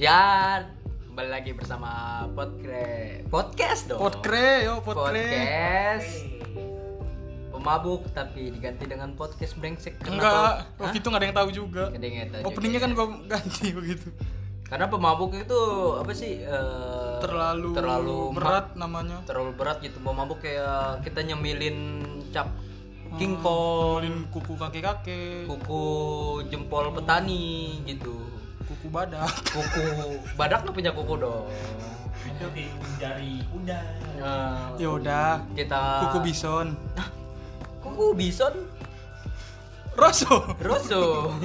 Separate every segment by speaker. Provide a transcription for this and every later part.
Speaker 1: Ya, kembali lagi bersama podcast podcast dong.
Speaker 2: Potkre, yo potkre.
Speaker 1: Podcast. Pemabuk tapi diganti dengan podcast brengsek.
Speaker 2: Enggak,
Speaker 1: Hah?
Speaker 2: waktu itu nggak ada yang tahu juga.
Speaker 1: Kedengetan juga
Speaker 2: Openingnya kan
Speaker 1: ya.
Speaker 2: gua ganti begitu.
Speaker 1: Karena pemabuk itu apa sih? eh,
Speaker 2: Terlalu,
Speaker 1: terlalu
Speaker 2: berat
Speaker 1: ma-
Speaker 2: namanya.
Speaker 1: terlalu berat gitu. Mau mabuk kayak kita nyemilin cap
Speaker 2: Hmm.
Speaker 1: kingkong,
Speaker 2: Ngulin kuku kakek-kakek,
Speaker 1: Oh. kuku jempol petani gitu.
Speaker 2: kuku badak.
Speaker 1: Kuku badak tuh punya kuku dong.
Speaker 3: itu di jari kuda
Speaker 1: Nah,
Speaker 2: Ya udah,
Speaker 1: kita
Speaker 2: kuku bison.
Speaker 1: kuku bison
Speaker 2: Rosso.
Speaker 1: Rusuh.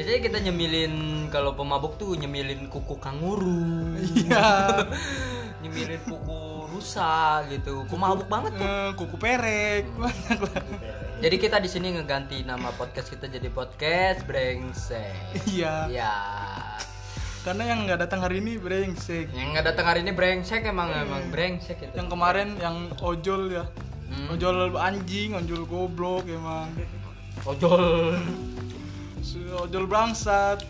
Speaker 1: Jadi kita nyemilin kalau pemabuk tuh nyemilin kuku kanguru,
Speaker 2: Iya.
Speaker 1: nyemilin kuku rusa gitu. Pemabuk banget tuh.
Speaker 2: Eh, kuku perek
Speaker 1: Hmm.
Speaker 2: banyak lah.
Speaker 1: Jadi kita di sini ngeganti nama podcast kita jadi podcast brengsek.
Speaker 2: Iya.
Speaker 1: Ya.
Speaker 2: Karena yang nggak datang hari ini brengsek.
Speaker 1: Yang nggak datang hari ini brengsek emang emang brengsek gitu.
Speaker 2: Hmm. Yang kemarin yang ojol ya.
Speaker 1: Hmm.
Speaker 2: Ojol anjing, ojol goblok emang.
Speaker 1: Ojol.
Speaker 2: Ojol bangsat,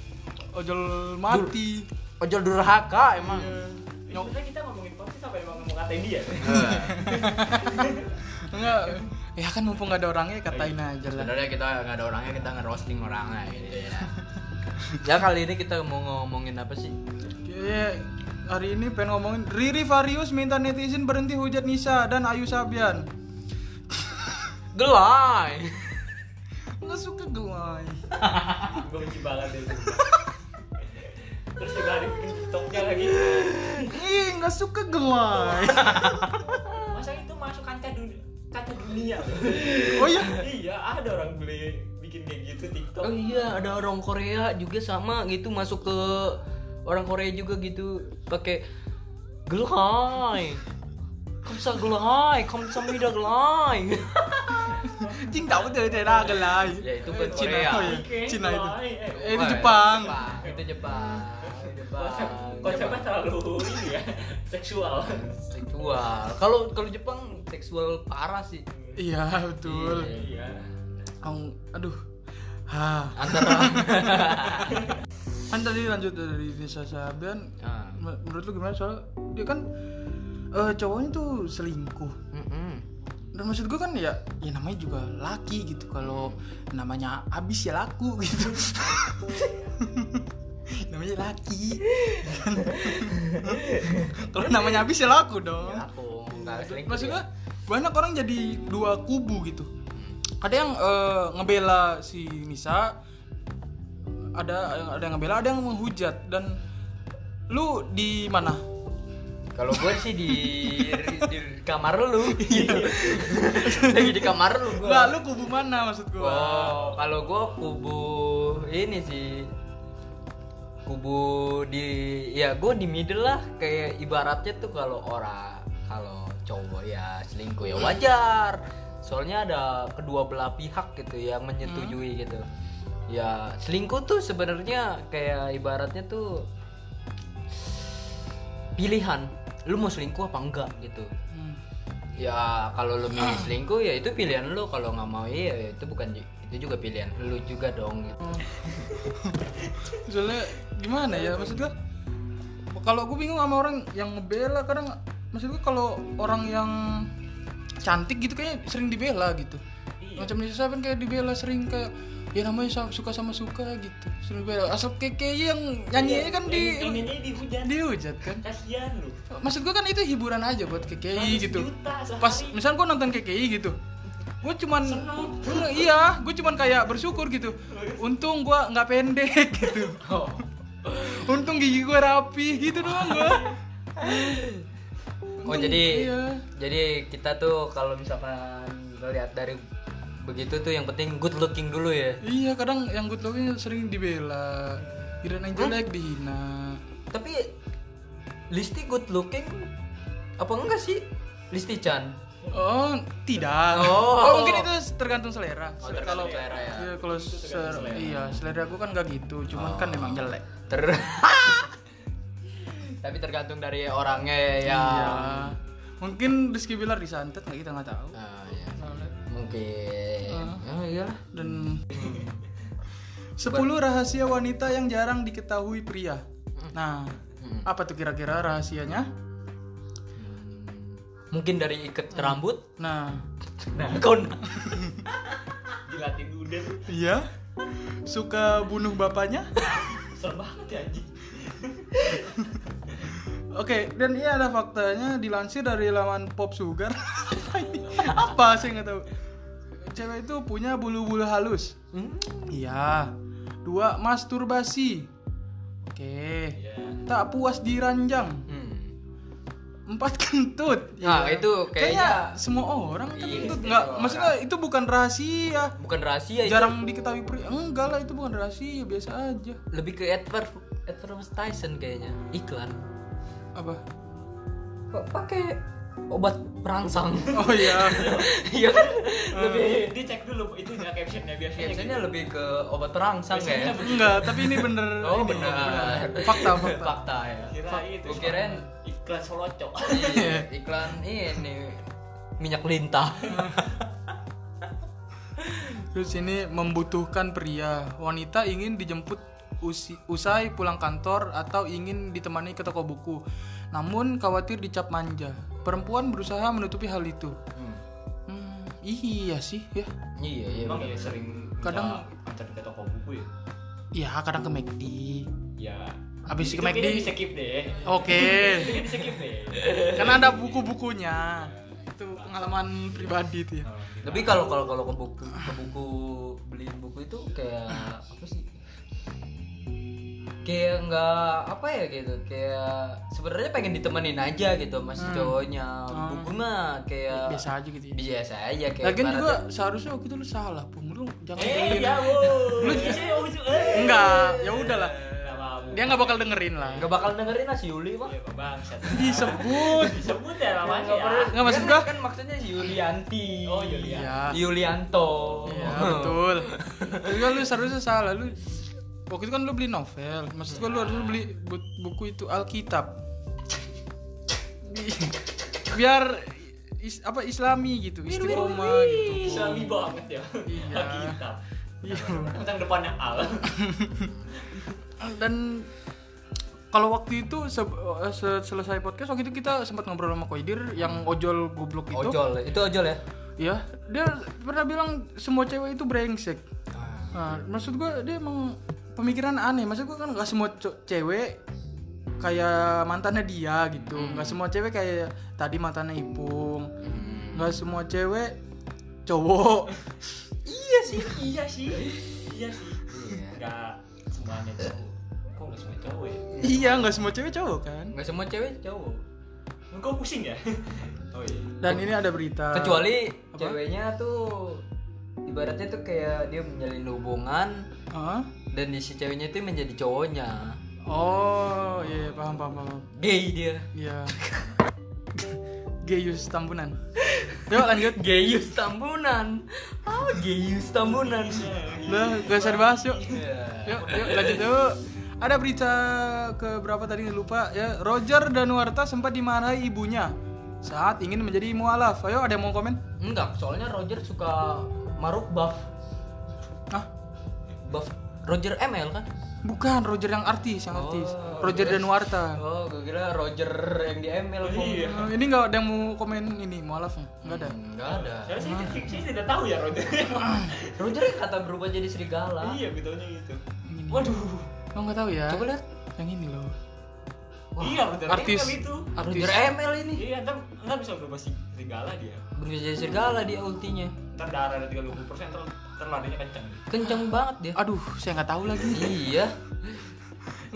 Speaker 2: ojol mati.
Speaker 1: Ojol durhaka emang.
Speaker 2: Iya. Nyok-
Speaker 3: Sebenarnya kita ngomongin podcast apa emang mau ngatain dia
Speaker 1: Iya.
Speaker 2: Enggak. Ya kan mumpung nggak ada orangnya
Speaker 1: Iya.
Speaker 2: katain aja lah.
Speaker 1: Sebenarnya kita nggak ada orangnya, kita ngerosting orangnya gitu ya. ya kali ini kita mau ngomongin apa sih?
Speaker 2: Kayaknya Iya, hari ini pengen ngomongin Riri Varius minta netizen berhenti hujat Nisa dan Ayu Sabian.
Speaker 1: Gelai.
Speaker 2: Nggak suka gelai.
Speaker 3: gue benci banget itu terus juga ada bikin tiktoknya lagi
Speaker 2: Ih, nggak suka gelai.
Speaker 3: masa itu masuk kaca dunia kaca dunia
Speaker 2: Oh iya.
Speaker 3: iya ada orang beli bikin kayak gitu
Speaker 1: Oh
Speaker 3: tiktok
Speaker 1: iya, ada orang Korea juga sama gitu masuk ke orang Korea juga gitu pakai gelai. Kamsa gelai, kamsa mida gelai.
Speaker 2: Cing tahu tuh daerah gelai.
Speaker 1: Ya, itu bukan
Speaker 2: Eh, Cina.
Speaker 1: Korea.
Speaker 2: Oh, iya.
Speaker 3: Oke,
Speaker 2: Cina itu.
Speaker 3: gelai.
Speaker 2: Eh, itu
Speaker 1: Wah,
Speaker 2: Jepang.
Speaker 1: Itu Jepang. Itu Jepang.
Speaker 3: Konsep- konsepnya
Speaker 1: Jepang.
Speaker 3: terlalu ini ya seksual
Speaker 1: Seksual. Kalau kalau Jepang seksual parah sih.
Speaker 2: Iya, betul.
Speaker 3: iya
Speaker 2: Ang- aduh. Ha.
Speaker 1: Antara
Speaker 2: Kan tadi lanjut dari Nisa Sabian.
Speaker 1: Ah.
Speaker 2: Men- Menurut lu gimana soal dia kan eh, cowoknya tuh selingkuh.
Speaker 1: Mm-mm.
Speaker 2: dan maksud gue kan ya ya namanya juga laki gitu kalau namanya habis ya laku gitu namanya laki kan? kalau namanya habis ya laku dong
Speaker 1: aku nggak selingkuh
Speaker 2: maksud gue
Speaker 1: dia.
Speaker 2: banyak orang jadi dua kubu gitu
Speaker 1: Hmm.
Speaker 2: ada yang eh, ngebela si Nisa ada ada yang ngebela ada yang menghujat dan lu di mana
Speaker 1: kalau gue sih di, di kamar lu
Speaker 2: Iya.
Speaker 1: lagi di kamar lu gue
Speaker 2: Enggak, lu kubu mana maksud gue
Speaker 1: kalau gue kubu ini sih kubu di ya gue di middle lah kayak ibaratnya tuh kalau orang kalau cowok ya selingkuh ya wajar soalnya ada kedua belah pihak gitu yang menyetujui gitu ya selingkuh tuh sebenarnya kayak ibaratnya tuh pilihan lu mau selingkuh apa enggak gitu
Speaker 2: Hmm.
Speaker 1: ya kalau lu milih selingkuh ya itu pilihan lu kalau nggak mau iya ya itu bukan ju- itu juga pilihan lu juga dong gitu.
Speaker 2: soalnya gimana ya maksud gua kalau gue bingung sama orang yang ngebela kadang maksud gua kalau orang yang cantik gitu kayaknya sering dibela gitu
Speaker 3: Iya.
Speaker 2: macam Nisa Saban kayak dibela sering kayak ya namanya sa- suka sama suka gitu sering dibela asal keke yang
Speaker 3: Iya,
Speaker 2: nyanyi kan di
Speaker 3: ini ini di hujan
Speaker 2: dihujat kan
Speaker 3: kasihan lu
Speaker 2: maksud gue kan itu hiburan aja buat KKI
Speaker 3: 100
Speaker 2: gitu
Speaker 3: juta sehari.
Speaker 2: pas misal gue nonton KKI gitu gue cuman
Speaker 3: Seneng.
Speaker 2: Enggak, iya gue cuman kayak bersyukur gitu untung gue nggak pendek gitu untung gigi gue rapi gitu doang gue
Speaker 1: oh jadi
Speaker 2: iya.
Speaker 1: jadi kita tuh kalau misalkan ngelihat dari begitu tuh yang penting good looking dulu ya
Speaker 2: iya kadang yang good looking sering dibela kirain yang jelek dihina
Speaker 1: tapi Listi good looking apa enggak sih Listi Chan
Speaker 2: oh tidak
Speaker 1: Oh.
Speaker 2: mungkin itu tergantung selera
Speaker 1: Oh, tergantung selera ya.
Speaker 2: Iya, kalau ser- iya selera gue kan gak gitu cuman kan emang jelek
Speaker 1: ter tapi tergantung dari orangnya ya
Speaker 2: Iya. Mungkin Rizky Bilar disantet nggak kita nggak tahu. Ah.
Speaker 1: Ah, ya. mungkin oh, iyalah
Speaker 2: Dan Sepuluh rahasia wanita yang jarang diketahui pria. Nah,
Speaker 1: Mm.
Speaker 2: apa tuh kira-kira rahasianya?
Speaker 1: mungkin dari ikat rambut
Speaker 2: Nah,
Speaker 1: Hmm. nah kau
Speaker 3: dilatih udah
Speaker 2: iya. Suka bunuh bapaknya?
Speaker 3: kesel banget ya anjing
Speaker 2: Oke, dan ini ada faktanya dilansir dari laman Pop Sugar. Apa ini? Apa sih nggak tahu. Cewek itu punya bulu-bulu halus.
Speaker 1: Hmm,
Speaker 2: Iya. Dua masturbasi. Oke.
Speaker 3: ya
Speaker 1: Iya.
Speaker 2: Tak puas diranjang.
Speaker 1: hmm.
Speaker 2: Empat kentut. Iya.
Speaker 1: Nah, itu kayaknya-
Speaker 2: semua orang kan
Speaker 1: Iya,
Speaker 2: kentut.
Speaker 1: semua
Speaker 2: Nggak,
Speaker 1: orang.
Speaker 2: maksudnya itu bukan rahasia.
Speaker 1: bukan rahasia itu
Speaker 2: Jarang diketahui pria. Enggak lah, itu bukan rahasia, biasa aja.
Speaker 1: lebih ke adver advertisement kayaknya iklan
Speaker 2: Apa?
Speaker 1: Kok pakai obat perangsang
Speaker 2: Oh iya.
Speaker 1: iya kan lebih
Speaker 3: lebih dicek dulu itu nggak captionnya biasanya gitu.
Speaker 1: biasanya lebih ke obat perangsang ya
Speaker 2: Enggak, tapi ini bener.
Speaker 1: oh
Speaker 2: ini,
Speaker 1: benar
Speaker 2: Fakta, fakta.
Speaker 1: fakta ya
Speaker 3: kira itu
Speaker 1: Gua kirain
Speaker 3: iklan solocok
Speaker 1: i- iklan ini minyak lintah
Speaker 2: Terus ini membutuhkan pria. Wanita ingin dijemput usi- usai pulang kantor atau ingin ditemani ke toko buku. Namun khawatir dicap manja. Perempuan berusaha menutupi hal itu. Hmm, iya sih ya.
Speaker 1: iya iya
Speaker 3: emang
Speaker 1: bener.
Speaker 3: ya sering
Speaker 2: Kadang-
Speaker 3: minta- antar ke toko buku ya
Speaker 2: Iya kadang ke McD.
Speaker 3: ya
Speaker 2: Abis ke
Speaker 3: Itu
Speaker 2: McD.
Speaker 3: kayaknya di skip deh
Speaker 2: Oke.
Speaker 3: Itu kayaknya di skip deh Eh,
Speaker 2: Karena ada buku-bukunya. Itu pengalaman pribadi tuh ya.
Speaker 1: tapi kalau kalau kalau ke buku ke buku beliin buku itu kayak apa sih kayak nggak apa ya gitu kayak sebenarnya pengen ditemenin aja gitu masih cowoknya buku mah kayak biasa,
Speaker 2: Hmm. Biasa aja gitu ya.
Speaker 3: Iya,
Speaker 1: aja kayak
Speaker 2: Lagian
Speaker 1: ibaratnya-
Speaker 2: juga seharusnya waktu itu lu salah, Pung. Lu jangan
Speaker 3: ya. eh
Speaker 2: dengerin.
Speaker 3: ya wow lu sih om Su- eh
Speaker 2: Enggak, ya udahlah.
Speaker 3: Nggak mau
Speaker 2: Dia nggak bakal dengerin lah.
Speaker 1: nggak bakal dengerin lah si Yuli mah
Speaker 3: ya Bang, bangsat
Speaker 2: Disebut.
Speaker 3: disebut ya namanya
Speaker 1: Nggak
Speaker 3: ya
Speaker 1: perlu-
Speaker 2: Nggak, maksud
Speaker 1: kan-
Speaker 2: gua-
Speaker 1: kan maksudnya si Yulianti
Speaker 3: oh Yulia
Speaker 2: Iya.
Speaker 1: Yulianto
Speaker 2: Iya betul. Tapi kan lu seharusnya salah lu. Waktu itu kan lu beli novel. Maksud gua lu harusnya beli bu- buku itu Alkitab. Bi- Biar is- apa Islami gitu, istiqomah gitu.
Speaker 3: Islami banget ya.
Speaker 2: Iya.
Speaker 3: Alkitab.
Speaker 2: Iya.
Speaker 3: Tentang depannya Al.
Speaker 2: Dan kalau waktu itu se- eh, se- selesai podcast waktu itu kita sempat ngobrol sama Koidir yang ojol goblok itu.
Speaker 1: ojol itu ojol ya
Speaker 2: Ya, dia pernah bilang semua cewek itu brengsek. Nah, maksud gua dia emang pemikiran aneh. Maksud gua kan gak semua co- cewek kayak mantannya dia gitu. Gak semua cewek kayak tadi mantannya Ipung. Gak semua cewek cowok.
Speaker 3: iya sih, iya sih. Iya sih.
Speaker 1: Iya.
Speaker 3: Enggak semuanya cowok. Kok enggak semua cowok ya?
Speaker 2: iya, gak semua cewek cowok kan.
Speaker 1: nggak semua cewek cowok
Speaker 3: Kok pusing ya? Oh iya.
Speaker 2: Dan ini ada berita.
Speaker 1: kecuali
Speaker 2: apa?
Speaker 1: ceweknya tuh ibaratnya tuh kayak dia menjalin hubungan
Speaker 2: Hah?
Speaker 1: dan di si ceweknya itu menjadi cowoknya
Speaker 2: Oh, iya iya, paham paham paham.
Speaker 1: gay dia
Speaker 2: Iya. Gayus Tambunan. Yuk lanjut.
Speaker 1: gayus tambunan oh gayus tambunan
Speaker 2: Udah, gak usah dibahas yuk.
Speaker 1: Iya.
Speaker 2: yuk, yuk lanjut yuk. Ada berita ke berapa tadi lupa ya. Roger Danuarta sempat dimarahi ibunya saat ingin menjadi mualaf. Ayo ada yang mau komen?
Speaker 1: enggak soalnya Roger suka maruk buff
Speaker 2: Ah,
Speaker 1: buff Roger ML kan
Speaker 2: bukan Roger yang artis, yang artis.
Speaker 1: Oh,
Speaker 2: Roger
Speaker 1: yes.
Speaker 2: Danuarta.
Speaker 1: oh gue kira Roger yang di ML Bung.
Speaker 3: Iya.
Speaker 2: Eh, ini nggak ada yang mau komen ini mualafnya? Nggak ada.
Speaker 1: enggak ada
Speaker 3: Saya sih saya tidak tahu ya Roger.
Speaker 1: Roger yang kata berubah jadi serigala
Speaker 3: Iya, betulnya gitu.
Speaker 2: Yang ini.
Speaker 3: Waduh.
Speaker 2: Oh nggak tahu ya.
Speaker 1: coba lihat
Speaker 2: Yang ini loh.
Speaker 3: Iya, Roger.
Speaker 2: artis.
Speaker 3: Emil itu.
Speaker 2: Artis.
Speaker 1: Roger ML ini
Speaker 3: Iya, ntar ntar bisa berubah si serigala dia.
Speaker 1: berubah jadi serigala dia ultinya
Speaker 3: Ntar darah ada 30% ntar ntar larinya kencang.
Speaker 1: kenceng banget dia
Speaker 2: Aduh, saya nggak tahu lagi.
Speaker 1: iya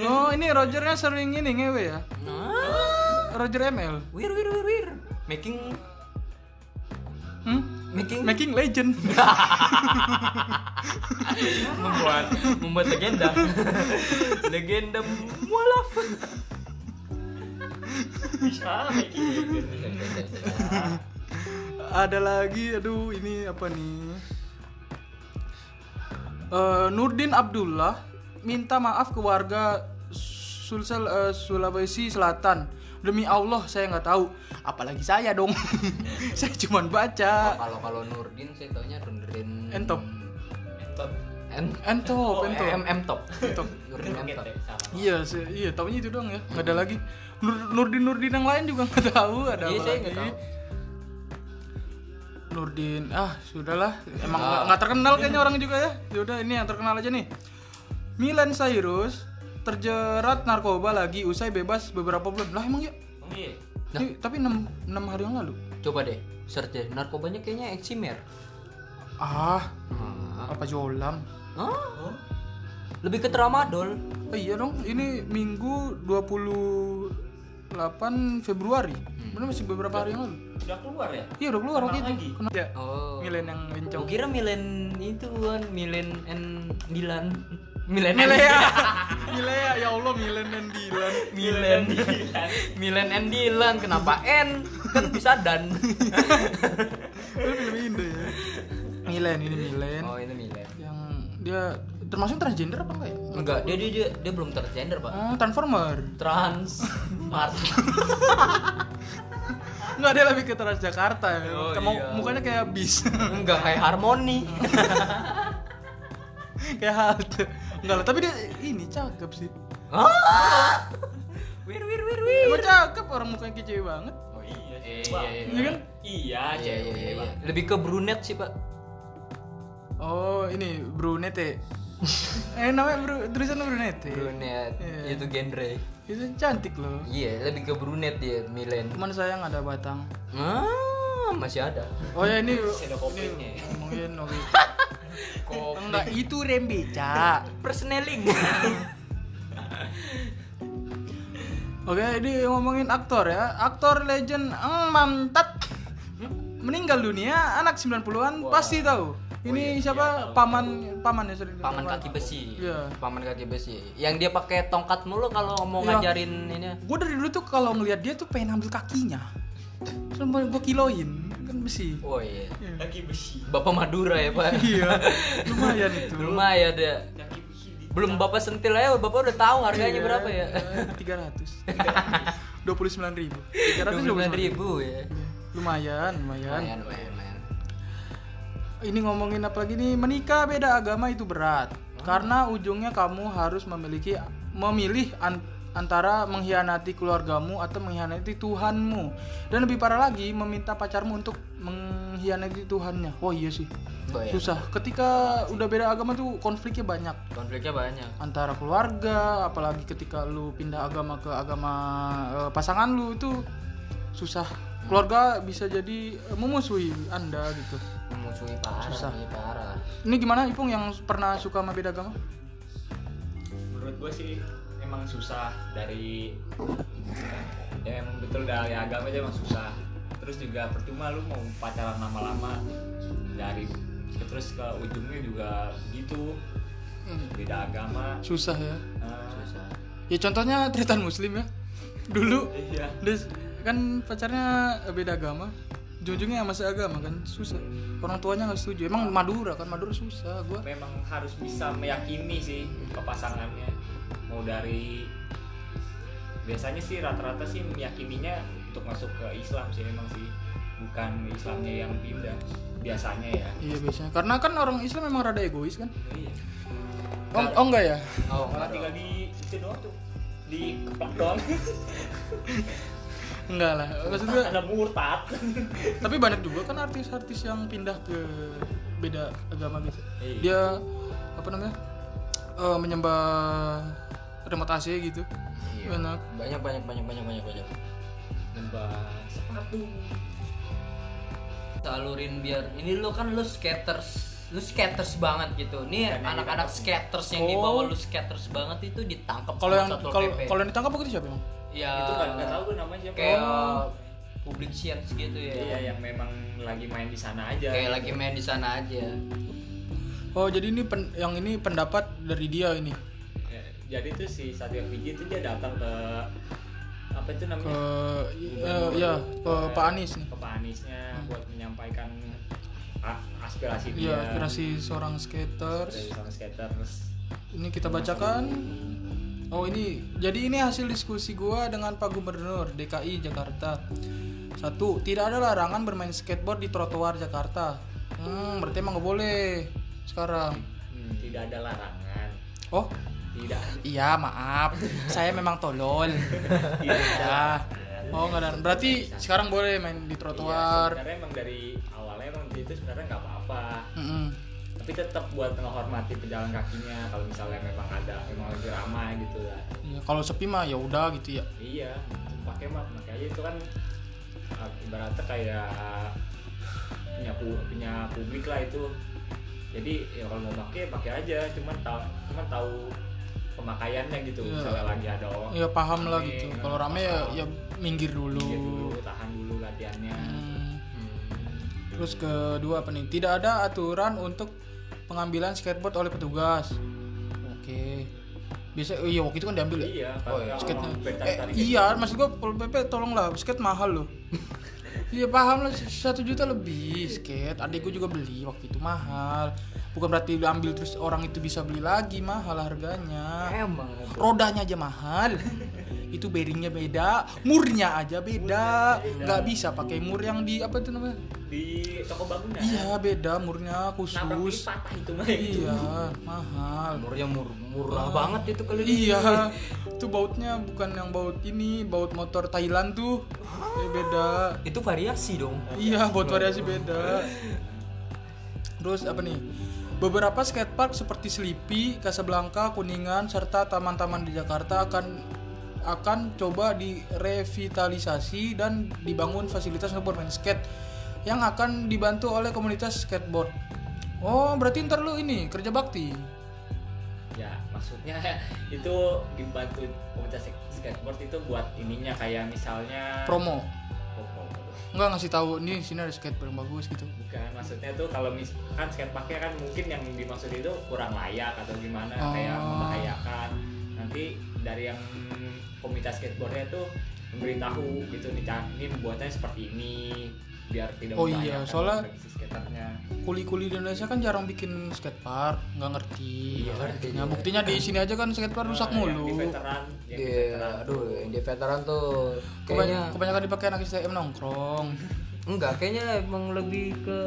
Speaker 2: Oh, ini Rogernya sering ini ngewe ya.
Speaker 1: nah
Speaker 2: Roger ML.
Speaker 1: wir wir wir wir making
Speaker 2: Hmm?
Speaker 1: making
Speaker 2: Making legend.
Speaker 1: membuat membuat legenda legenda mualaf
Speaker 3: Bisa, gitu.
Speaker 2: ada lagi aduh ini apa nih Eh, Nurdin Abdullah minta maaf ke warga Sulsel eh, Sulawesi Selatan demi Allah saya nggak tahu apalagi saya dong saya cuman
Speaker 1: Oh,
Speaker 2: baca
Speaker 1: kalau kalau Nurdin saya taunya Nurdin
Speaker 2: Entop.
Speaker 3: Entot.
Speaker 1: N
Speaker 2: Entop, entop.
Speaker 1: MM top.
Speaker 2: Entop.
Speaker 1: Nurdin M top.
Speaker 3: Kaget ya, sama.
Speaker 2: Iya, se- iya taunya itu doang ya. Nggak ada lagi. Nur, Nurdin Nurdin yang lain juga nggak tahu ada
Speaker 1: Iya,
Speaker 2: apa
Speaker 1: saya
Speaker 2: lagi.
Speaker 1: nggak tahu.
Speaker 2: Nurdin, ah sudahlah, emang
Speaker 1: Ah.
Speaker 2: nggak nggak terkenal kayaknya orang juga ya. Yaudah ini yang terkenal aja nih. Milan Cyrus terjerat narkoba lagi usai bebas beberapa bulan. Lah emang ya?
Speaker 3: Oh, iya.
Speaker 2: Ih, tapi 6, hari yang lalu.
Speaker 1: Coba deh search deh. Narkobanya kayaknya eksimer.
Speaker 2: Ah,
Speaker 1: Ah.
Speaker 2: apa jolam?
Speaker 1: Hah?
Speaker 3: Oh,
Speaker 1: Lebih ke tramadol.
Speaker 2: Oh, iya dong, ini Minggu 28 Februari.
Speaker 1: Hmm.
Speaker 2: Bener masih beberapa hari yang lalu.
Speaker 3: udah keluar ya?
Speaker 2: Iya udah keluar waktu
Speaker 3: Kenal
Speaker 2: itu.
Speaker 3: lagi?
Speaker 2: Kenal. Ya.
Speaker 1: Oh.
Speaker 2: Milen yang
Speaker 1: Gua
Speaker 2: bencong.
Speaker 1: kira Milen itu kan Milen and Dilan. Milen and-
Speaker 2: Milea. Milea ya Allah ya. Milen dan Dilan.
Speaker 1: Milen Milen and Dilan kenapa N kan bisa dan
Speaker 2: Itu film Indo ya. Milen ini Milen.
Speaker 1: oh itu Milen
Speaker 2: Yang dia termasuk transgender apa enggak ya?
Speaker 1: enggak dia dia dia, dia belum transgender pak
Speaker 2: Oh, transformer.
Speaker 1: trans mart
Speaker 2: Enggak dia lebih ke Transjakarta ya.
Speaker 1: Oh,
Speaker 2: Kamu
Speaker 1: iya.
Speaker 2: mukanya kayak bis.
Speaker 1: enggak kayak harmoni
Speaker 2: kayak halte. Enggak lah, tapi dia ini cakep sih.
Speaker 1: Ah! wir wir wir wir
Speaker 2: Emang cakep orang mukanya kayak cewek banget.
Speaker 1: oh
Speaker 3: iya,
Speaker 1: iya
Speaker 2: Iya
Speaker 3: Bang.
Speaker 2: kan?
Speaker 3: Iya,
Speaker 1: iya iya
Speaker 3: cewek,
Speaker 1: iya, iya.
Speaker 3: Bang.
Speaker 1: lebih ke brunet sih pak
Speaker 2: Oh, ini brunette. eh namanya bro, tulisannya brunette.
Speaker 1: brunet
Speaker 2: Iya.
Speaker 1: itu genre
Speaker 2: Itu cantik loh.
Speaker 1: iya lebih ke brunet dia Milen
Speaker 2: Cuman sayang ada batang.
Speaker 1: ah masih ada
Speaker 2: Oh ya ini
Speaker 3: Masih ada kopinya.
Speaker 2: ini ngomongin Novi. Enggak itu rembeca.
Speaker 1: persneling
Speaker 2: Oke, ini ngomongin aktor ya. Aktor legend Eng Mantat meninggal dunia anak 90-an
Speaker 3: Wah.
Speaker 1: Oh
Speaker 2: pasti tahu. Ini siapa? paman paman ya sering
Speaker 1: iya, paman
Speaker 2: dibilang.
Speaker 1: kaki besi
Speaker 2: Iya.
Speaker 1: paman kaki besi yang dia pakai tongkat mulu kalau mau
Speaker 2: Iya.
Speaker 1: ngajarin ini
Speaker 2: Gue dari dulu tuh kalau ngelihat dia tuh pengen ambil kakinya. Sampai gue kiloin kan besi.
Speaker 1: oh iya
Speaker 3: Kaki besi.
Speaker 1: bapak Madura ya pak
Speaker 2: Iya, lumayan itu.
Speaker 1: lumayan ya
Speaker 3: Kaki besi di
Speaker 1: belum bapak sentil aja bapak udah tahu harganya
Speaker 2: Iya,
Speaker 1: berapa ya
Speaker 2: Tiga ratus. Dua puluh sembilan ribu. Tiga ratus dua puluh
Speaker 1: sembilan ribu ya
Speaker 2: Iya. Lumayan, lumayan.
Speaker 1: lumayan lumayan lumayan
Speaker 2: Ini ngomongin apa lagi nih? Menikah beda agama itu berat. Karena ujungnya kamu harus memiliki memilih an- antara mengkhianati keluargamu atau mengkhianati Tuhanmu. Dan lebih parah lagi meminta pacarmu untuk mengkhianati Tuhannya. Wah, iya sih.
Speaker 1: Bayang.
Speaker 2: Susah. Ketika udah beda agama tuh konfliknya banyak
Speaker 1: konfliknya banyak
Speaker 2: antara keluarga, apalagi ketika lu pindah agama ke agama eh, pasangan lu itu susah. Keluarga bisa jadi eh, memusuhi Anda gitu.
Speaker 1: memusuhi parah
Speaker 2: Susah.
Speaker 1: ini parah
Speaker 2: Ini gimana Ipung yang pernah suka sama beda agama?
Speaker 3: menurut gue sih emang susah dari ya emang betul dari agama aja emang susah terus juga percuma lu mau pacaran lama-lama dari terus ke ujungnya juga gitu beda agama
Speaker 2: Susah ya.
Speaker 3: Eh,
Speaker 1: susah
Speaker 2: Ya contohnya Tretan Muslim ya. Dulu
Speaker 3: iya
Speaker 2: dia s- kan pacarnya beda agama. Jujungnya sama seagama kan susah. Orang tuanya nggak setuju. Emang Madura kan Madura susah gua.
Speaker 3: memang harus bisa meyakini sih ke pasangannya mau dari biasanya sih rata-rata sih meyakininya untuk masuk ke Islam sih memang sih bukan Islamnya yang pindah biasanya ya
Speaker 2: Iya biasanya. Karena kan orang Islam memang rada egois kan.
Speaker 3: iya
Speaker 2: Oh, oh enggak ya?
Speaker 1: oh
Speaker 3: malah
Speaker 1: enggak
Speaker 3: tinggal di itu doang tuh di kepak doang
Speaker 2: Enggak lah. Maksud gua
Speaker 3: ada murtad
Speaker 2: tapi banyak juga kan artis-artis yang pindah ke beda agama gitu
Speaker 3: Iya.
Speaker 2: dia apa namanya eh, menyembah remote AC gitu
Speaker 1: Iya.
Speaker 2: banyak
Speaker 1: banyak banyak banyak banyak banyak banyak
Speaker 3: nembak sepatu
Speaker 1: salurin biar ini lu kan lu skaters lu skaters banget gitu
Speaker 3: Iya,
Speaker 1: nih anak-anak skaters yang dibawa
Speaker 2: Oh.
Speaker 1: lu skaters banget itu ditangkap
Speaker 2: kalau
Speaker 1: sama
Speaker 2: yang
Speaker 1: Satpol
Speaker 2: kalau
Speaker 1: PP.
Speaker 2: kalau yang ditangkap waktu itu siapa emang
Speaker 1: ya
Speaker 3: itu kan nggak tahu gue namanya siapa
Speaker 1: kayak
Speaker 3: Oh.
Speaker 1: public science gitu ya
Speaker 3: iya yang memang lagi main di sana aja
Speaker 1: kayak lagi main di sana aja
Speaker 2: oh jadi ini pen- yang ini pendapat dari dia ini
Speaker 3: Ya, jadi tuh si Satya Fiji itu dia datang ke apa itu
Speaker 2: ke
Speaker 3: namanya Iya.
Speaker 2: eh, ya ke Pak Anies nih Hmm.
Speaker 3: ke Pak Aniesnya buat menyampaikan a- aspirasi
Speaker 2: ya
Speaker 3: dia
Speaker 2: aspirasi seorang skaters
Speaker 3: dari sang skaters
Speaker 2: Ini kita bacakan. Oh ini, jadi ini hasil diskusi gua dengan Pak Gubernur DKI Jakarta. Satu, tidak ada larangan bermain skateboard di trotoar Jakarta. Hmm, berarti emang nggak boleh sekarang.
Speaker 1: Hmm.
Speaker 3: tidak ada larangan
Speaker 2: Oh,
Speaker 3: tidak
Speaker 2: iya maaf. Saya memang tolol.
Speaker 3: tidak
Speaker 2: Ya. Oh, enggak ada. Berarti sekarang boleh main di
Speaker 3: trotoar
Speaker 2: trotoar.
Speaker 3: sebenarnya emang dari awalnya emang itu sebenarnya nggak apa-apa
Speaker 2: Mm-mm.
Speaker 3: tapi tetap buat menghormati pejalan kakinya kalau misalnya memang ada memang lagi ramai gitu lah
Speaker 2: Iya, kalau sepi mah ya udah gitu ya.
Speaker 3: iya pakai map makanya itu kan uh, ibaratnya kayak punya pu- punya publik lah itu jadi ya kalau mau pakai pakai aja cuman tahu cuman tahu pemakaiannya gitu
Speaker 2: Iya.
Speaker 3: misalnya lagi ada orang
Speaker 2: Ya paham lah
Speaker 3: rame,
Speaker 2: gitu.
Speaker 3: nah,
Speaker 2: Kalau rame ya
Speaker 3: paham.
Speaker 2: ya minggir
Speaker 3: Minggir
Speaker 2: dulu.
Speaker 3: dulu tahan dulu latihannya
Speaker 2: Hmm.
Speaker 3: Hmm.
Speaker 2: Terus kedua apa nih? Tidak ada aturan untuk pengambilan skateboard oleh petugas. Oke. Biasa iya waktu itu kan diambil ya.
Speaker 3: Iya,
Speaker 1: Oh,
Speaker 3: kalau
Speaker 1: iya.
Speaker 3: kalau
Speaker 2: Skatenya.
Speaker 3: mau
Speaker 2: Eh,
Speaker 3: bertarik-tarik
Speaker 2: iya, maksud gua Pol PP tolonglah, skate mahal loh. Iya paham lah satu juta lebih skate. Adik gua juga beli waktu itu mahal. Bukan berarti diambil terus orang itu bisa beli lagi mahal
Speaker 3: Nah.
Speaker 2: harganya.
Speaker 1: Emang
Speaker 2: Rodanya aja mahal. itu bearingnya beda, murnya aja beda. Nggak bisa pakai mur yang di apa itu namanya?
Speaker 3: di toko bangunan.
Speaker 2: Iya beda murnya
Speaker 3: Nabrak ini
Speaker 2: khusus.
Speaker 3: patah itu mah itu.
Speaker 2: Iya mahal.
Speaker 1: murnya ya mur- murah
Speaker 3: Nah.
Speaker 1: banget itu kali ini.
Speaker 2: Iya itu bautnya bukan yang baut ini baut motor Thailand tuh
Speaker 1: Ah.
Speaker 2: Ya, beda.
Speaker 1: Itu variasi dong.
Speaker 2: Iya baut variasi beda. Terus apa nih? Beberapa skatepark seperti Slipi, Casablanca, Kuningan, serta taman-taman di Jakarta akan akan coba direvitalisasi dan dibangun fasilitas untuk bermain skate yang akan dibantu oleh komunitas skateboard. Oh, berarti ntar lu ini kerja bakti.
Speaker 3: Ya, maksudnya itu dibantu komunitas skateboard itu buat ininya kayak misalnya
Speaker 2: Promo.
Speaker 3: Oh, oh, oh.
Speaker 2: Enggak ngasih tahu nih sini ada skateboard yang bagus gitu.
Speaker 3: bukan maksudnya tuh kalau mis kan skateparknya kan mungkin yang dimaksud itu kurang layak atau gimana
Speaker 2: Oh.
Speaker 3: kayak membahayakan nanti dari yang komunitas skateboardnya tuh memberitahu gitu nih Chan, ini buatnya seperti ini biar tidak
Speaker 2: Oh iya,
Speaker 3: membahayakan
Speaker 2: soalnya-
Speaker 3: bagi si skaternya
Speaker 2: Kuli-kuli di Indonesia kan jarang bikin skatepark, nggak ngerti.
Speaker 1: Iya, ngerti
Speaker 2: Nah,
Speaker 1: dia.
Speaker 2: buktinya di sini aja kan skatepark rusak
Speaker 3: Nah, yang di
Speaker 2: mulu. Iya,
Speaker 3: veteran yang di
Speaker 1: Dia,
Speaker 3: Iya, veteran
Speaker 1: Iya, aduh, yang di veteran tuh
Speaker 2: Kebany-
Speaker 1: kayaknya
Speaker 2: kebanyakan dipakai anak STM nongkrong.
Speaker 1: enggak, kayaknya emang lebih ke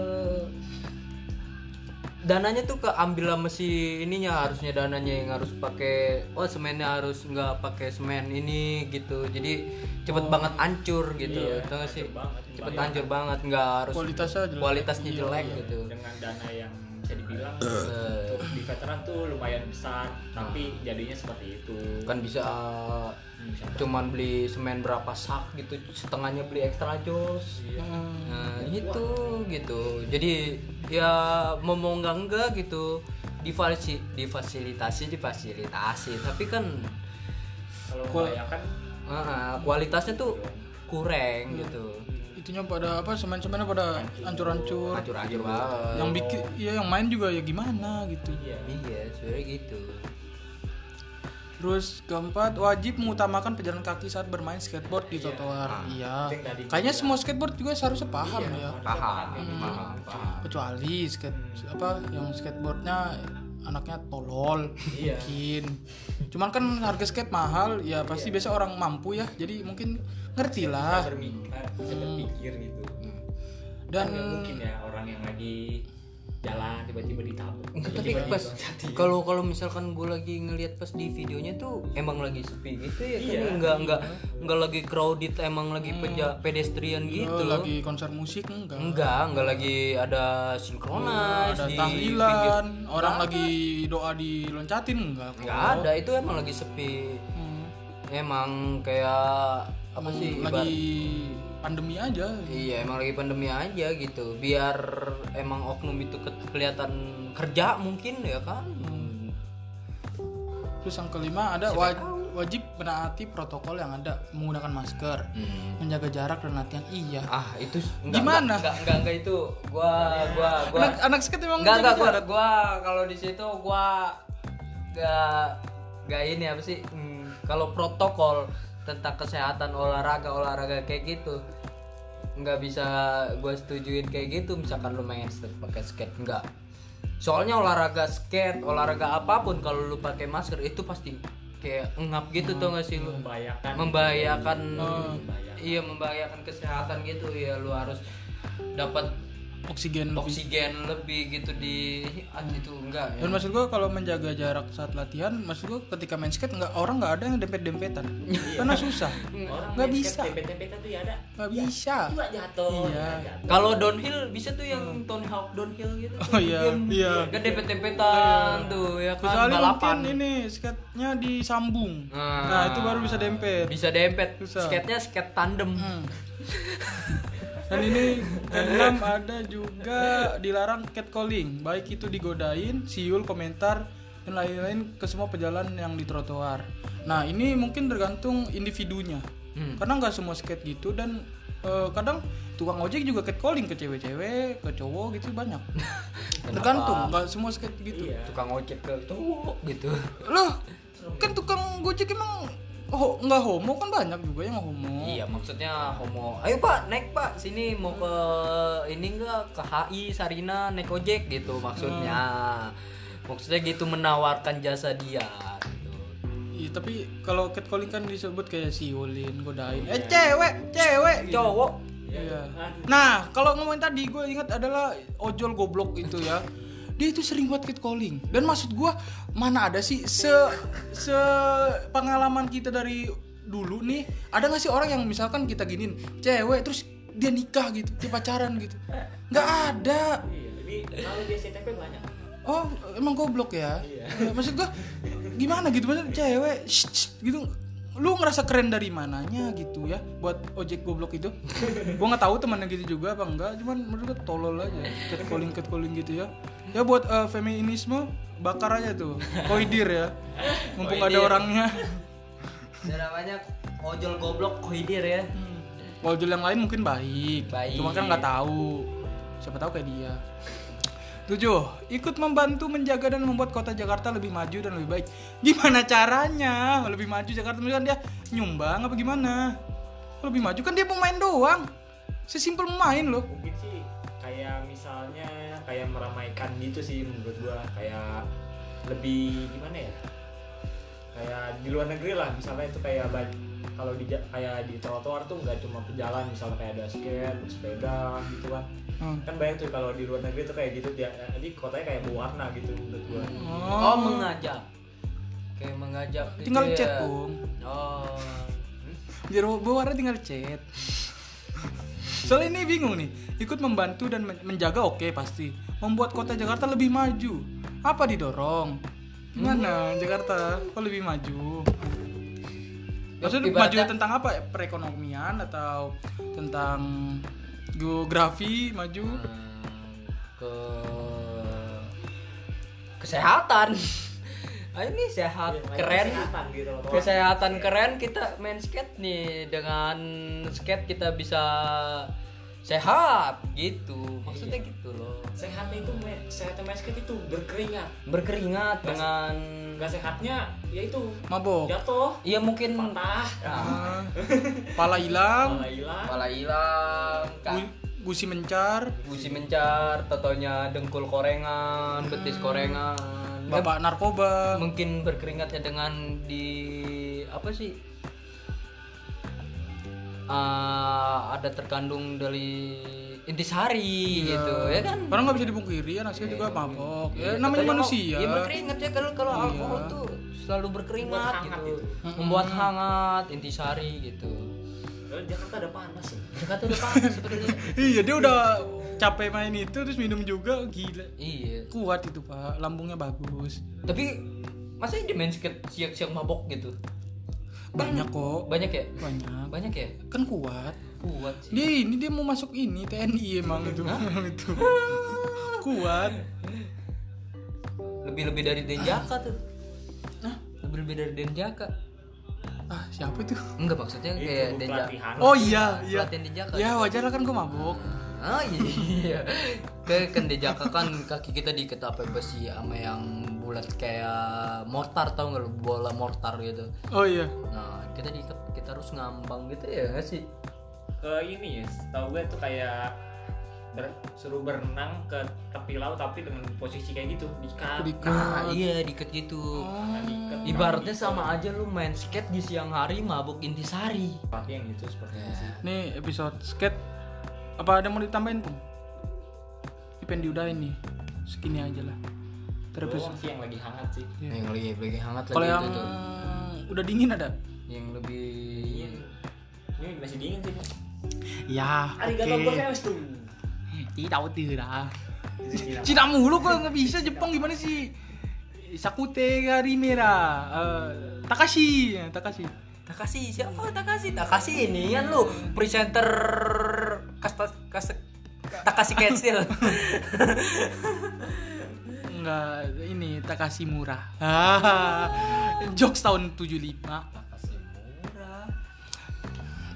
Speaker 1: dananya tuh keambil sama si ininya harusnya dananya yang harus pakai oh semennya harus nggak pakai semen ini gitu jadi cepet banget hancur gitu
Speaker 3: Iya,
Speaker 1: tau nggak sih
Speaker 3: hancur banget.
Speaker 1: cepet
Speaker 3: Bahaya.
Speaker 1: hancur banget nggak harus
Speaker 2: Kualitasnya jelek.
Speaker 1: kualitasnya
Speaker 2: Iya,
Speaker 1: jelek
Speaker 2: iya.
Speaker 1: gitu
Speaker 3: dengan dana yang bisa dibilang
Speaker 1: Eh.
Speaker 3: untuk di veteran tuh lumayan besar tapi jadinya seperti itu
Speaker 1: kan bisa
Speaker 3: Hmm, bisa
Speaker 1: cuman beli semen berapa sak gitu setengahnya beli extra jos
Speaker 3: Iya,
Speaker 2: Hmm.
Speaker 1: nah itu gitu jadi ya mau mau nggak enggak gitu divasi difasilitasi difasilitasi tapi kan
Speaker 3: kalau
Speaker 2: Kual-
Speaker 3: membahayakan
Speaker 1: ah, kualitasnya tuh kurang gitu
Speaker 2: Itunya pada apa semen-semennya pada hancur-hancur.
Speaker 1: acur-acur banget
Speaker 2: Yang bikin ya yang main juga ya gimana gitu.
Speaker 3: iya
Speaker 1: iya sebenarnya gitu
Speaker 2: Terus keempat, wajib mengutamakan pejalan kaki saat bermain skateboard di trotoar. Iya.
Speaker 3: Ah, Penting tadi Iya.
Speaker 2: Kayaknya semua skateboard juga seharusnya paham ya.
Speaker 1: paham paham paham
Speaker 2: Kecuali skate apa yang skateboardnya anaknya tolol
Speaker 3: Iya.
Speaker 2: mungkin. Cuman kan harga skate mahal, ya pasti biasa orang mampu ya. Jadi mungkin ngerti lah.
Speaker 3: bermikir bisa berpikir gitu
Speaker 2: Dan
Speaker 3: dan nggak mungkin ya orang yang lagi jalan tiba-tiba ditabrak
Speaker 1: tapi
Speaker 3: Tiba-tiba
Speaker 1: pas
Speaker 3: jatuh.
Speaker 1: kalau kalau misalkan gue lagi ngelihat pas di videonya tuh emang lagi sepi gitu ya kan
Speaker 3: Iya.
Speaker 1: nggak nggak nggak lagi crowded emang lagi peja- pedestrian
Speaker 2: ya,
Speaker 1: gitu loh
Speaker 2: lagi konser musik enggak?
Speaker 1: enggak Iya, enggak lagi ada sinkronis
Speaker 2: Oh, ada
Speaker 1: di pinggir-
Speaker 2: tahlilan, orang lagi doa diloncatin enggak? kok.
Speaker 1: nggak ada itu emang lagi sepi
Speaker 2: Hmm.
Speaker 1: emang kayak apa sih Iya, ibarat-
Speaker 2: lagi pandemi aja.
Speaker 1: Iya emang lagi pandemi aja gitu biar emang oknum itu ke- kelihatan kerja mungkin ya kan
Speaker 2: Hmm. Terus yang kelima ada wa- wajib menaati protokol yang ada menggunakan masker,
Speaker 1: Hmm.
Speaker 2: menjaga jarak dan latihan. Iya.
Speaker 1: ah itu
Speaker 2: Gimana?
Speaker 1: enggak, enggak, enggak, enggak itu gua gua gua
Speaker 2: Anak anak skate memang
Speaker 1: Enggak,
Speaker 2: menjaga
Speaker 1: enggak, gua,
Speaker 2: jarak.
Speaker 1: gua kalau di situ gua enggak enggak ini apa sih? Hmm, kalau protokol tentang kesehatan olahraga olahraga kayak gitu nggak bisa gua setujuin kayak gitu misalkan lu main skate pakai skate enggak soalnya olahraga skate olahraga apapun kalau lu pakai masker itu pasti kayak ngap gitu tuh nggak sih lu
Speaker 3: membahayakan
Speaker 1: membahayakan
Speaker 2: Oh.
Speaker 1: iya membahayakan kesehatan gitu ya lu harus dapat
Speaker 2: oksigen lebih
Speaker 1: oksigen lebih gitu di ah, gitu enggak ya
Speaker 2: dan maksud gua kalau menjaga jarak saat latihan maksud gua ketika main skate nggak orang nggak ada yang dempet dempetan karena susah nggak bisa
Speaker 3: TPTPT tuh ya ada
Speaker 2: nggak bisa
Speaker 3: juga jatuh
Speaker 2: Iya.
Speaker 3: juga jatuh.
Speaker 1: kalau downhill bisa tuh yang Tony Hawk downhill gitu
Speaker 2: Oh, iya, iya.
Speaker 1: kan dempet-dempetan tuh ya kan
Speaker 2: kecuali
Speaker 1: balapan
Speaker 2: mungkin ini skate-nya disambung
Speaker 1: Ah.
Speaker 2: nah itu baru bisa dempet
Speaker 1: bisa dempet
Speaker 2: Susah.
Speaker 1: skate-nya skate tandem
Speaker 2: Hmm. Dan ini keenam ada juga dilarang catcalling, baik itu digodain, siul, komentar dan lain-lain ke semua pejalan yang di trotoar. Nah ini mungkin tergantung individunya,
Speaker 1: Hmm.
Speaker 2: karena nggak semua skate gitu dan eh, kadang tukang ojek juga catcalling ke cewek-cewek, ke cowok gitu banyak. tergantung, nggak semua skate gitu.
Speaker 3: Iya.
Speaker 1: tukang ojek ke tuh gitu
Speaker 2: Loh, kan tukang gojek emang oh nggak homo kan banyak juga yang homo.
Speaker 1: Iya maksudnya homo. Ayo pak naik pak sini mau ke ini enggak ke HI Sarina naik ojek gitu maksudnya.
Speaker 2: Hmm.
Speaker 1: Maksudnya gitu menawarkan jasa dia. Gitu.
Speaker 2: Iya tapi kalau catcalling kan disebut kayak siulin, godain.
Speaker 1: Iya.
Speaker 2: Eh cewek, cewek, cowok. Iya. Nah kalau ngomongin tadi gue ingat adalah ojol goblok itu ya. Dia itu sering buat catcalling. Dan maksud gue mana ada sih se se pengalaman kita dari dulu nih ada nggak sih orang yang misalkan kita giniin cewek terus dia nikah gitu, dia pacaran gitu. Nggak ada.
Speaker 3: Iya, jadi kalau di SCTP banyak.
Speaker 2: Oh, emang goblok ya? Ya, Maksud gua gimana gitu maksud cewek shh, shh, gitu lu ngerasa keren dari mananya gitu ya buat ojek goblok itu gua nggak tahu temannya gitu juga apa enggak cuman menurut gua tolol aja catcalling catcalling gitu ya ya buat eh, feminisme bakar aja tuh koidir ya mumpung ada
Speaker 1: Koidir.
Speaker 2: orangnya
Speaker 1: Dan namanya ojol goblok koidir ya.
Speaker 2: ojol yang lain mungkin baik,
Speaker 1: Baik.
Speaker 2: cuma kan nggak tahu siapa tahu kayak dia Tujuh, ikut membantu menjaga dan membuat kota Jakarta lebih maju dan lebih baik. Gimana caranya? Lebih maju Jakarta misalkan dia nyumbang apa gimana? Lebih maju kan dia pemain doang. Sesimpel main loh.
Speaker 3: Mungkin sih kayak misalnya kayak meramaikan gitu sih menurut gua kayak lebih gimana ya? Kayak di luar negeri lah misalnya itu kayak ba- kalau di ja- kayak di trotoar tuh nggak cuma pejalan misalnya kayak ada skate, sepeda gitu kan.
Speaker 2: Hmm.
Speaker 3: Kan banyak tuh kalau di luar negeri tuh kayak gitu dia jadi kotanya kayak berwarna gitu menurut gua.
Speaker 1: Oh, mengajak. Kayak mengajak. gitu
Speaker 2: Tinggal
Speaker 1: ya.
Speaker 2: chat, Om.
Speaker 1: Oh. Hmm?
Speaker 2: Biar bawaannya tinggal chat. Soalnya ini bingung nih, ikut membantu dan men- menjaga oke pasti. Membuat kota Jakarta lebih maju. Apa didorong? Gimana Jakarta? Kok lebih maju? Maksudnya maju
Speaker 1: Ibaratnya-
Speaker 2: tentang apa? ya? Perekonomian atau tentang geografi maju?
Speaker 1: Hmm, ke kesehatan. Ayo nih
Speaker 3: Iya,
Speaker 1: sehat, keren.
Speaker 3: Kesehatan gitu di trotoar.
Speaker 1: kesehatan keren kita main skate nih dengan skate kita bisa sehat gitu maksudnya gitu loh
Speaker 3: Sehatnya itu me- sehatnya basket itu berkeringat.
Speaker 1: berkeringat dengan
Speaker 3: Enggak sehatnya ya itu
Speaker 2: Mabok.
Speaker 3: jatuh,
Speaker 1: iya mungkin
Speaker 3: patah,
Speaker 1: nah,
Speaker 2: Ah, Pala hilang,
Speaker 3: malah hilang.
Speaker 1: kepala hilang
Speaker 2: gu- gusi mencar,
Speaker 1: gusi mencar totonya dengkul korengan betis korengan Ya, Iya.
Speaker 2: bapak narkoba.
Speaker 1: mungkin berkeringatnya dengan di apa sih Ah, ada terkandung dari intisari
Speaker 2: Iya.
Speaker 1: gitu ya kan
Speaker 2: Karena nggak bisa dipungkiri anak saya
Speaker 1: Iya,
Speaker 2: juga mabok. Ya, namanya
Speaker 1: Katanya
Speaker 2: manusia. Iya.
Speaker 1: mau- ya berkeringat ya kalau kalau alkohol tuh selalu berkeringat
Speaker 3: Membuat hangat
Speaker 1: gitu
Speaker 3: gitu.
Speaker 1: membuat hangat intisari gitu
Speaker 3: Padahal Eh, Jakarta ada panas ya.
Speaker 1: dekat tuh depan sepertinya
Speaker 2: Iya dia udah capek main itu terus minum juga gila.
Speaker 1: iya
Speaker 2: Kuat itu pak, lambungnya bagus.
Speaker 1: tapi masa di main skate siang-siang mabok gitu
Speaker 2: Banyak kok,
Speaker 1: banyak ya
Speaker 2: banyak.
Speaker 1: banyak ya
Speaker 2: Kan kuat.
Speaker 1: kuat sih
Speaker 2: Dia ini dia mau masuk ini TNI emang itu, emang itu. kuat.
Speaker 1: lebih lebih dari denjaka tuh lebih lebih dari denjaka
Speaker 2: Ah siapa itu?
Speaker 1: enggak maksudnya
Speaker 3: Itu
Speaker 1: kayak denjaka
Speaker 3: pelatihan.
Speaker 2: Oh iya iya.
Speaker 1: pelatihan denjaka
Speaker 2: Ya wajar lah kan gue mabok.
Speaker 1: Ah iya. Kayak kan di Jaka kan kaki kita diikat apa besi sama yang bulat kayak mortar tau nggak lu bola mortar gitu.
Speaker 2: Oh iya.
Speaker 1: Nah kita diikat kita harus ngambang gitu ya nggak sih?
Speaker 3: Ke ini ya, tahu gue tuh kayak ber- suruh berenang ke tepi laut tapi dengan posisi kayak gitu Nah, diikat.
Speaker 2: Diikat.
Speaker 1: Nah iya diikat gitu.
Speaker 3: tangan diikat, kaki
Speaker 1: Ibaratnya
Speaker 3: diikat.
Speaker 1: sama aja lu main skate di siang hari mabuk intisari.
Speaker 3: Tapi yang itu gitu, seperti itu sih.
Speaker 2: Nih episode skate apa ada yang mau ditambahin pun? ini pengen diudahin nih segini aja lah Ntar
Speaker 3: Terus
Speaker 2: episode-
Speaker 3: sih yang lagi hangat sih.
Speaker 2: Iya.
Speaker 1: yang lagi lagi hangat
Speaker 2: kalau
Speaker 1: lagi
Speaker 2: yang
Speaker 1: Oh, itu tuh.
Speaker 2: udah dingin ada
Speaker 1: yang lebih
Speaker 3: Dingin.
Speaker 2: Iya.
Speaker 3: Ini masih dingin sih. Bang.
Speaker 2: ya
Speaker 3: Arigato gozaimasu.
Speaker 2: tidak tidak Cina mulu kok nggak bisa Jepang gimana sih Sakute Garimera eh, Takashi ya, Takashi
Speaker 1: Takashi siapa Takashi Takashi ini kan lu presenter kastas kas Takashi Kensil
Speaker 2: Enggak ini Takashi murah Jokes tahun 75
Speaker 3: Masih murah.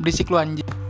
Speaker 2: Berisik lu anjing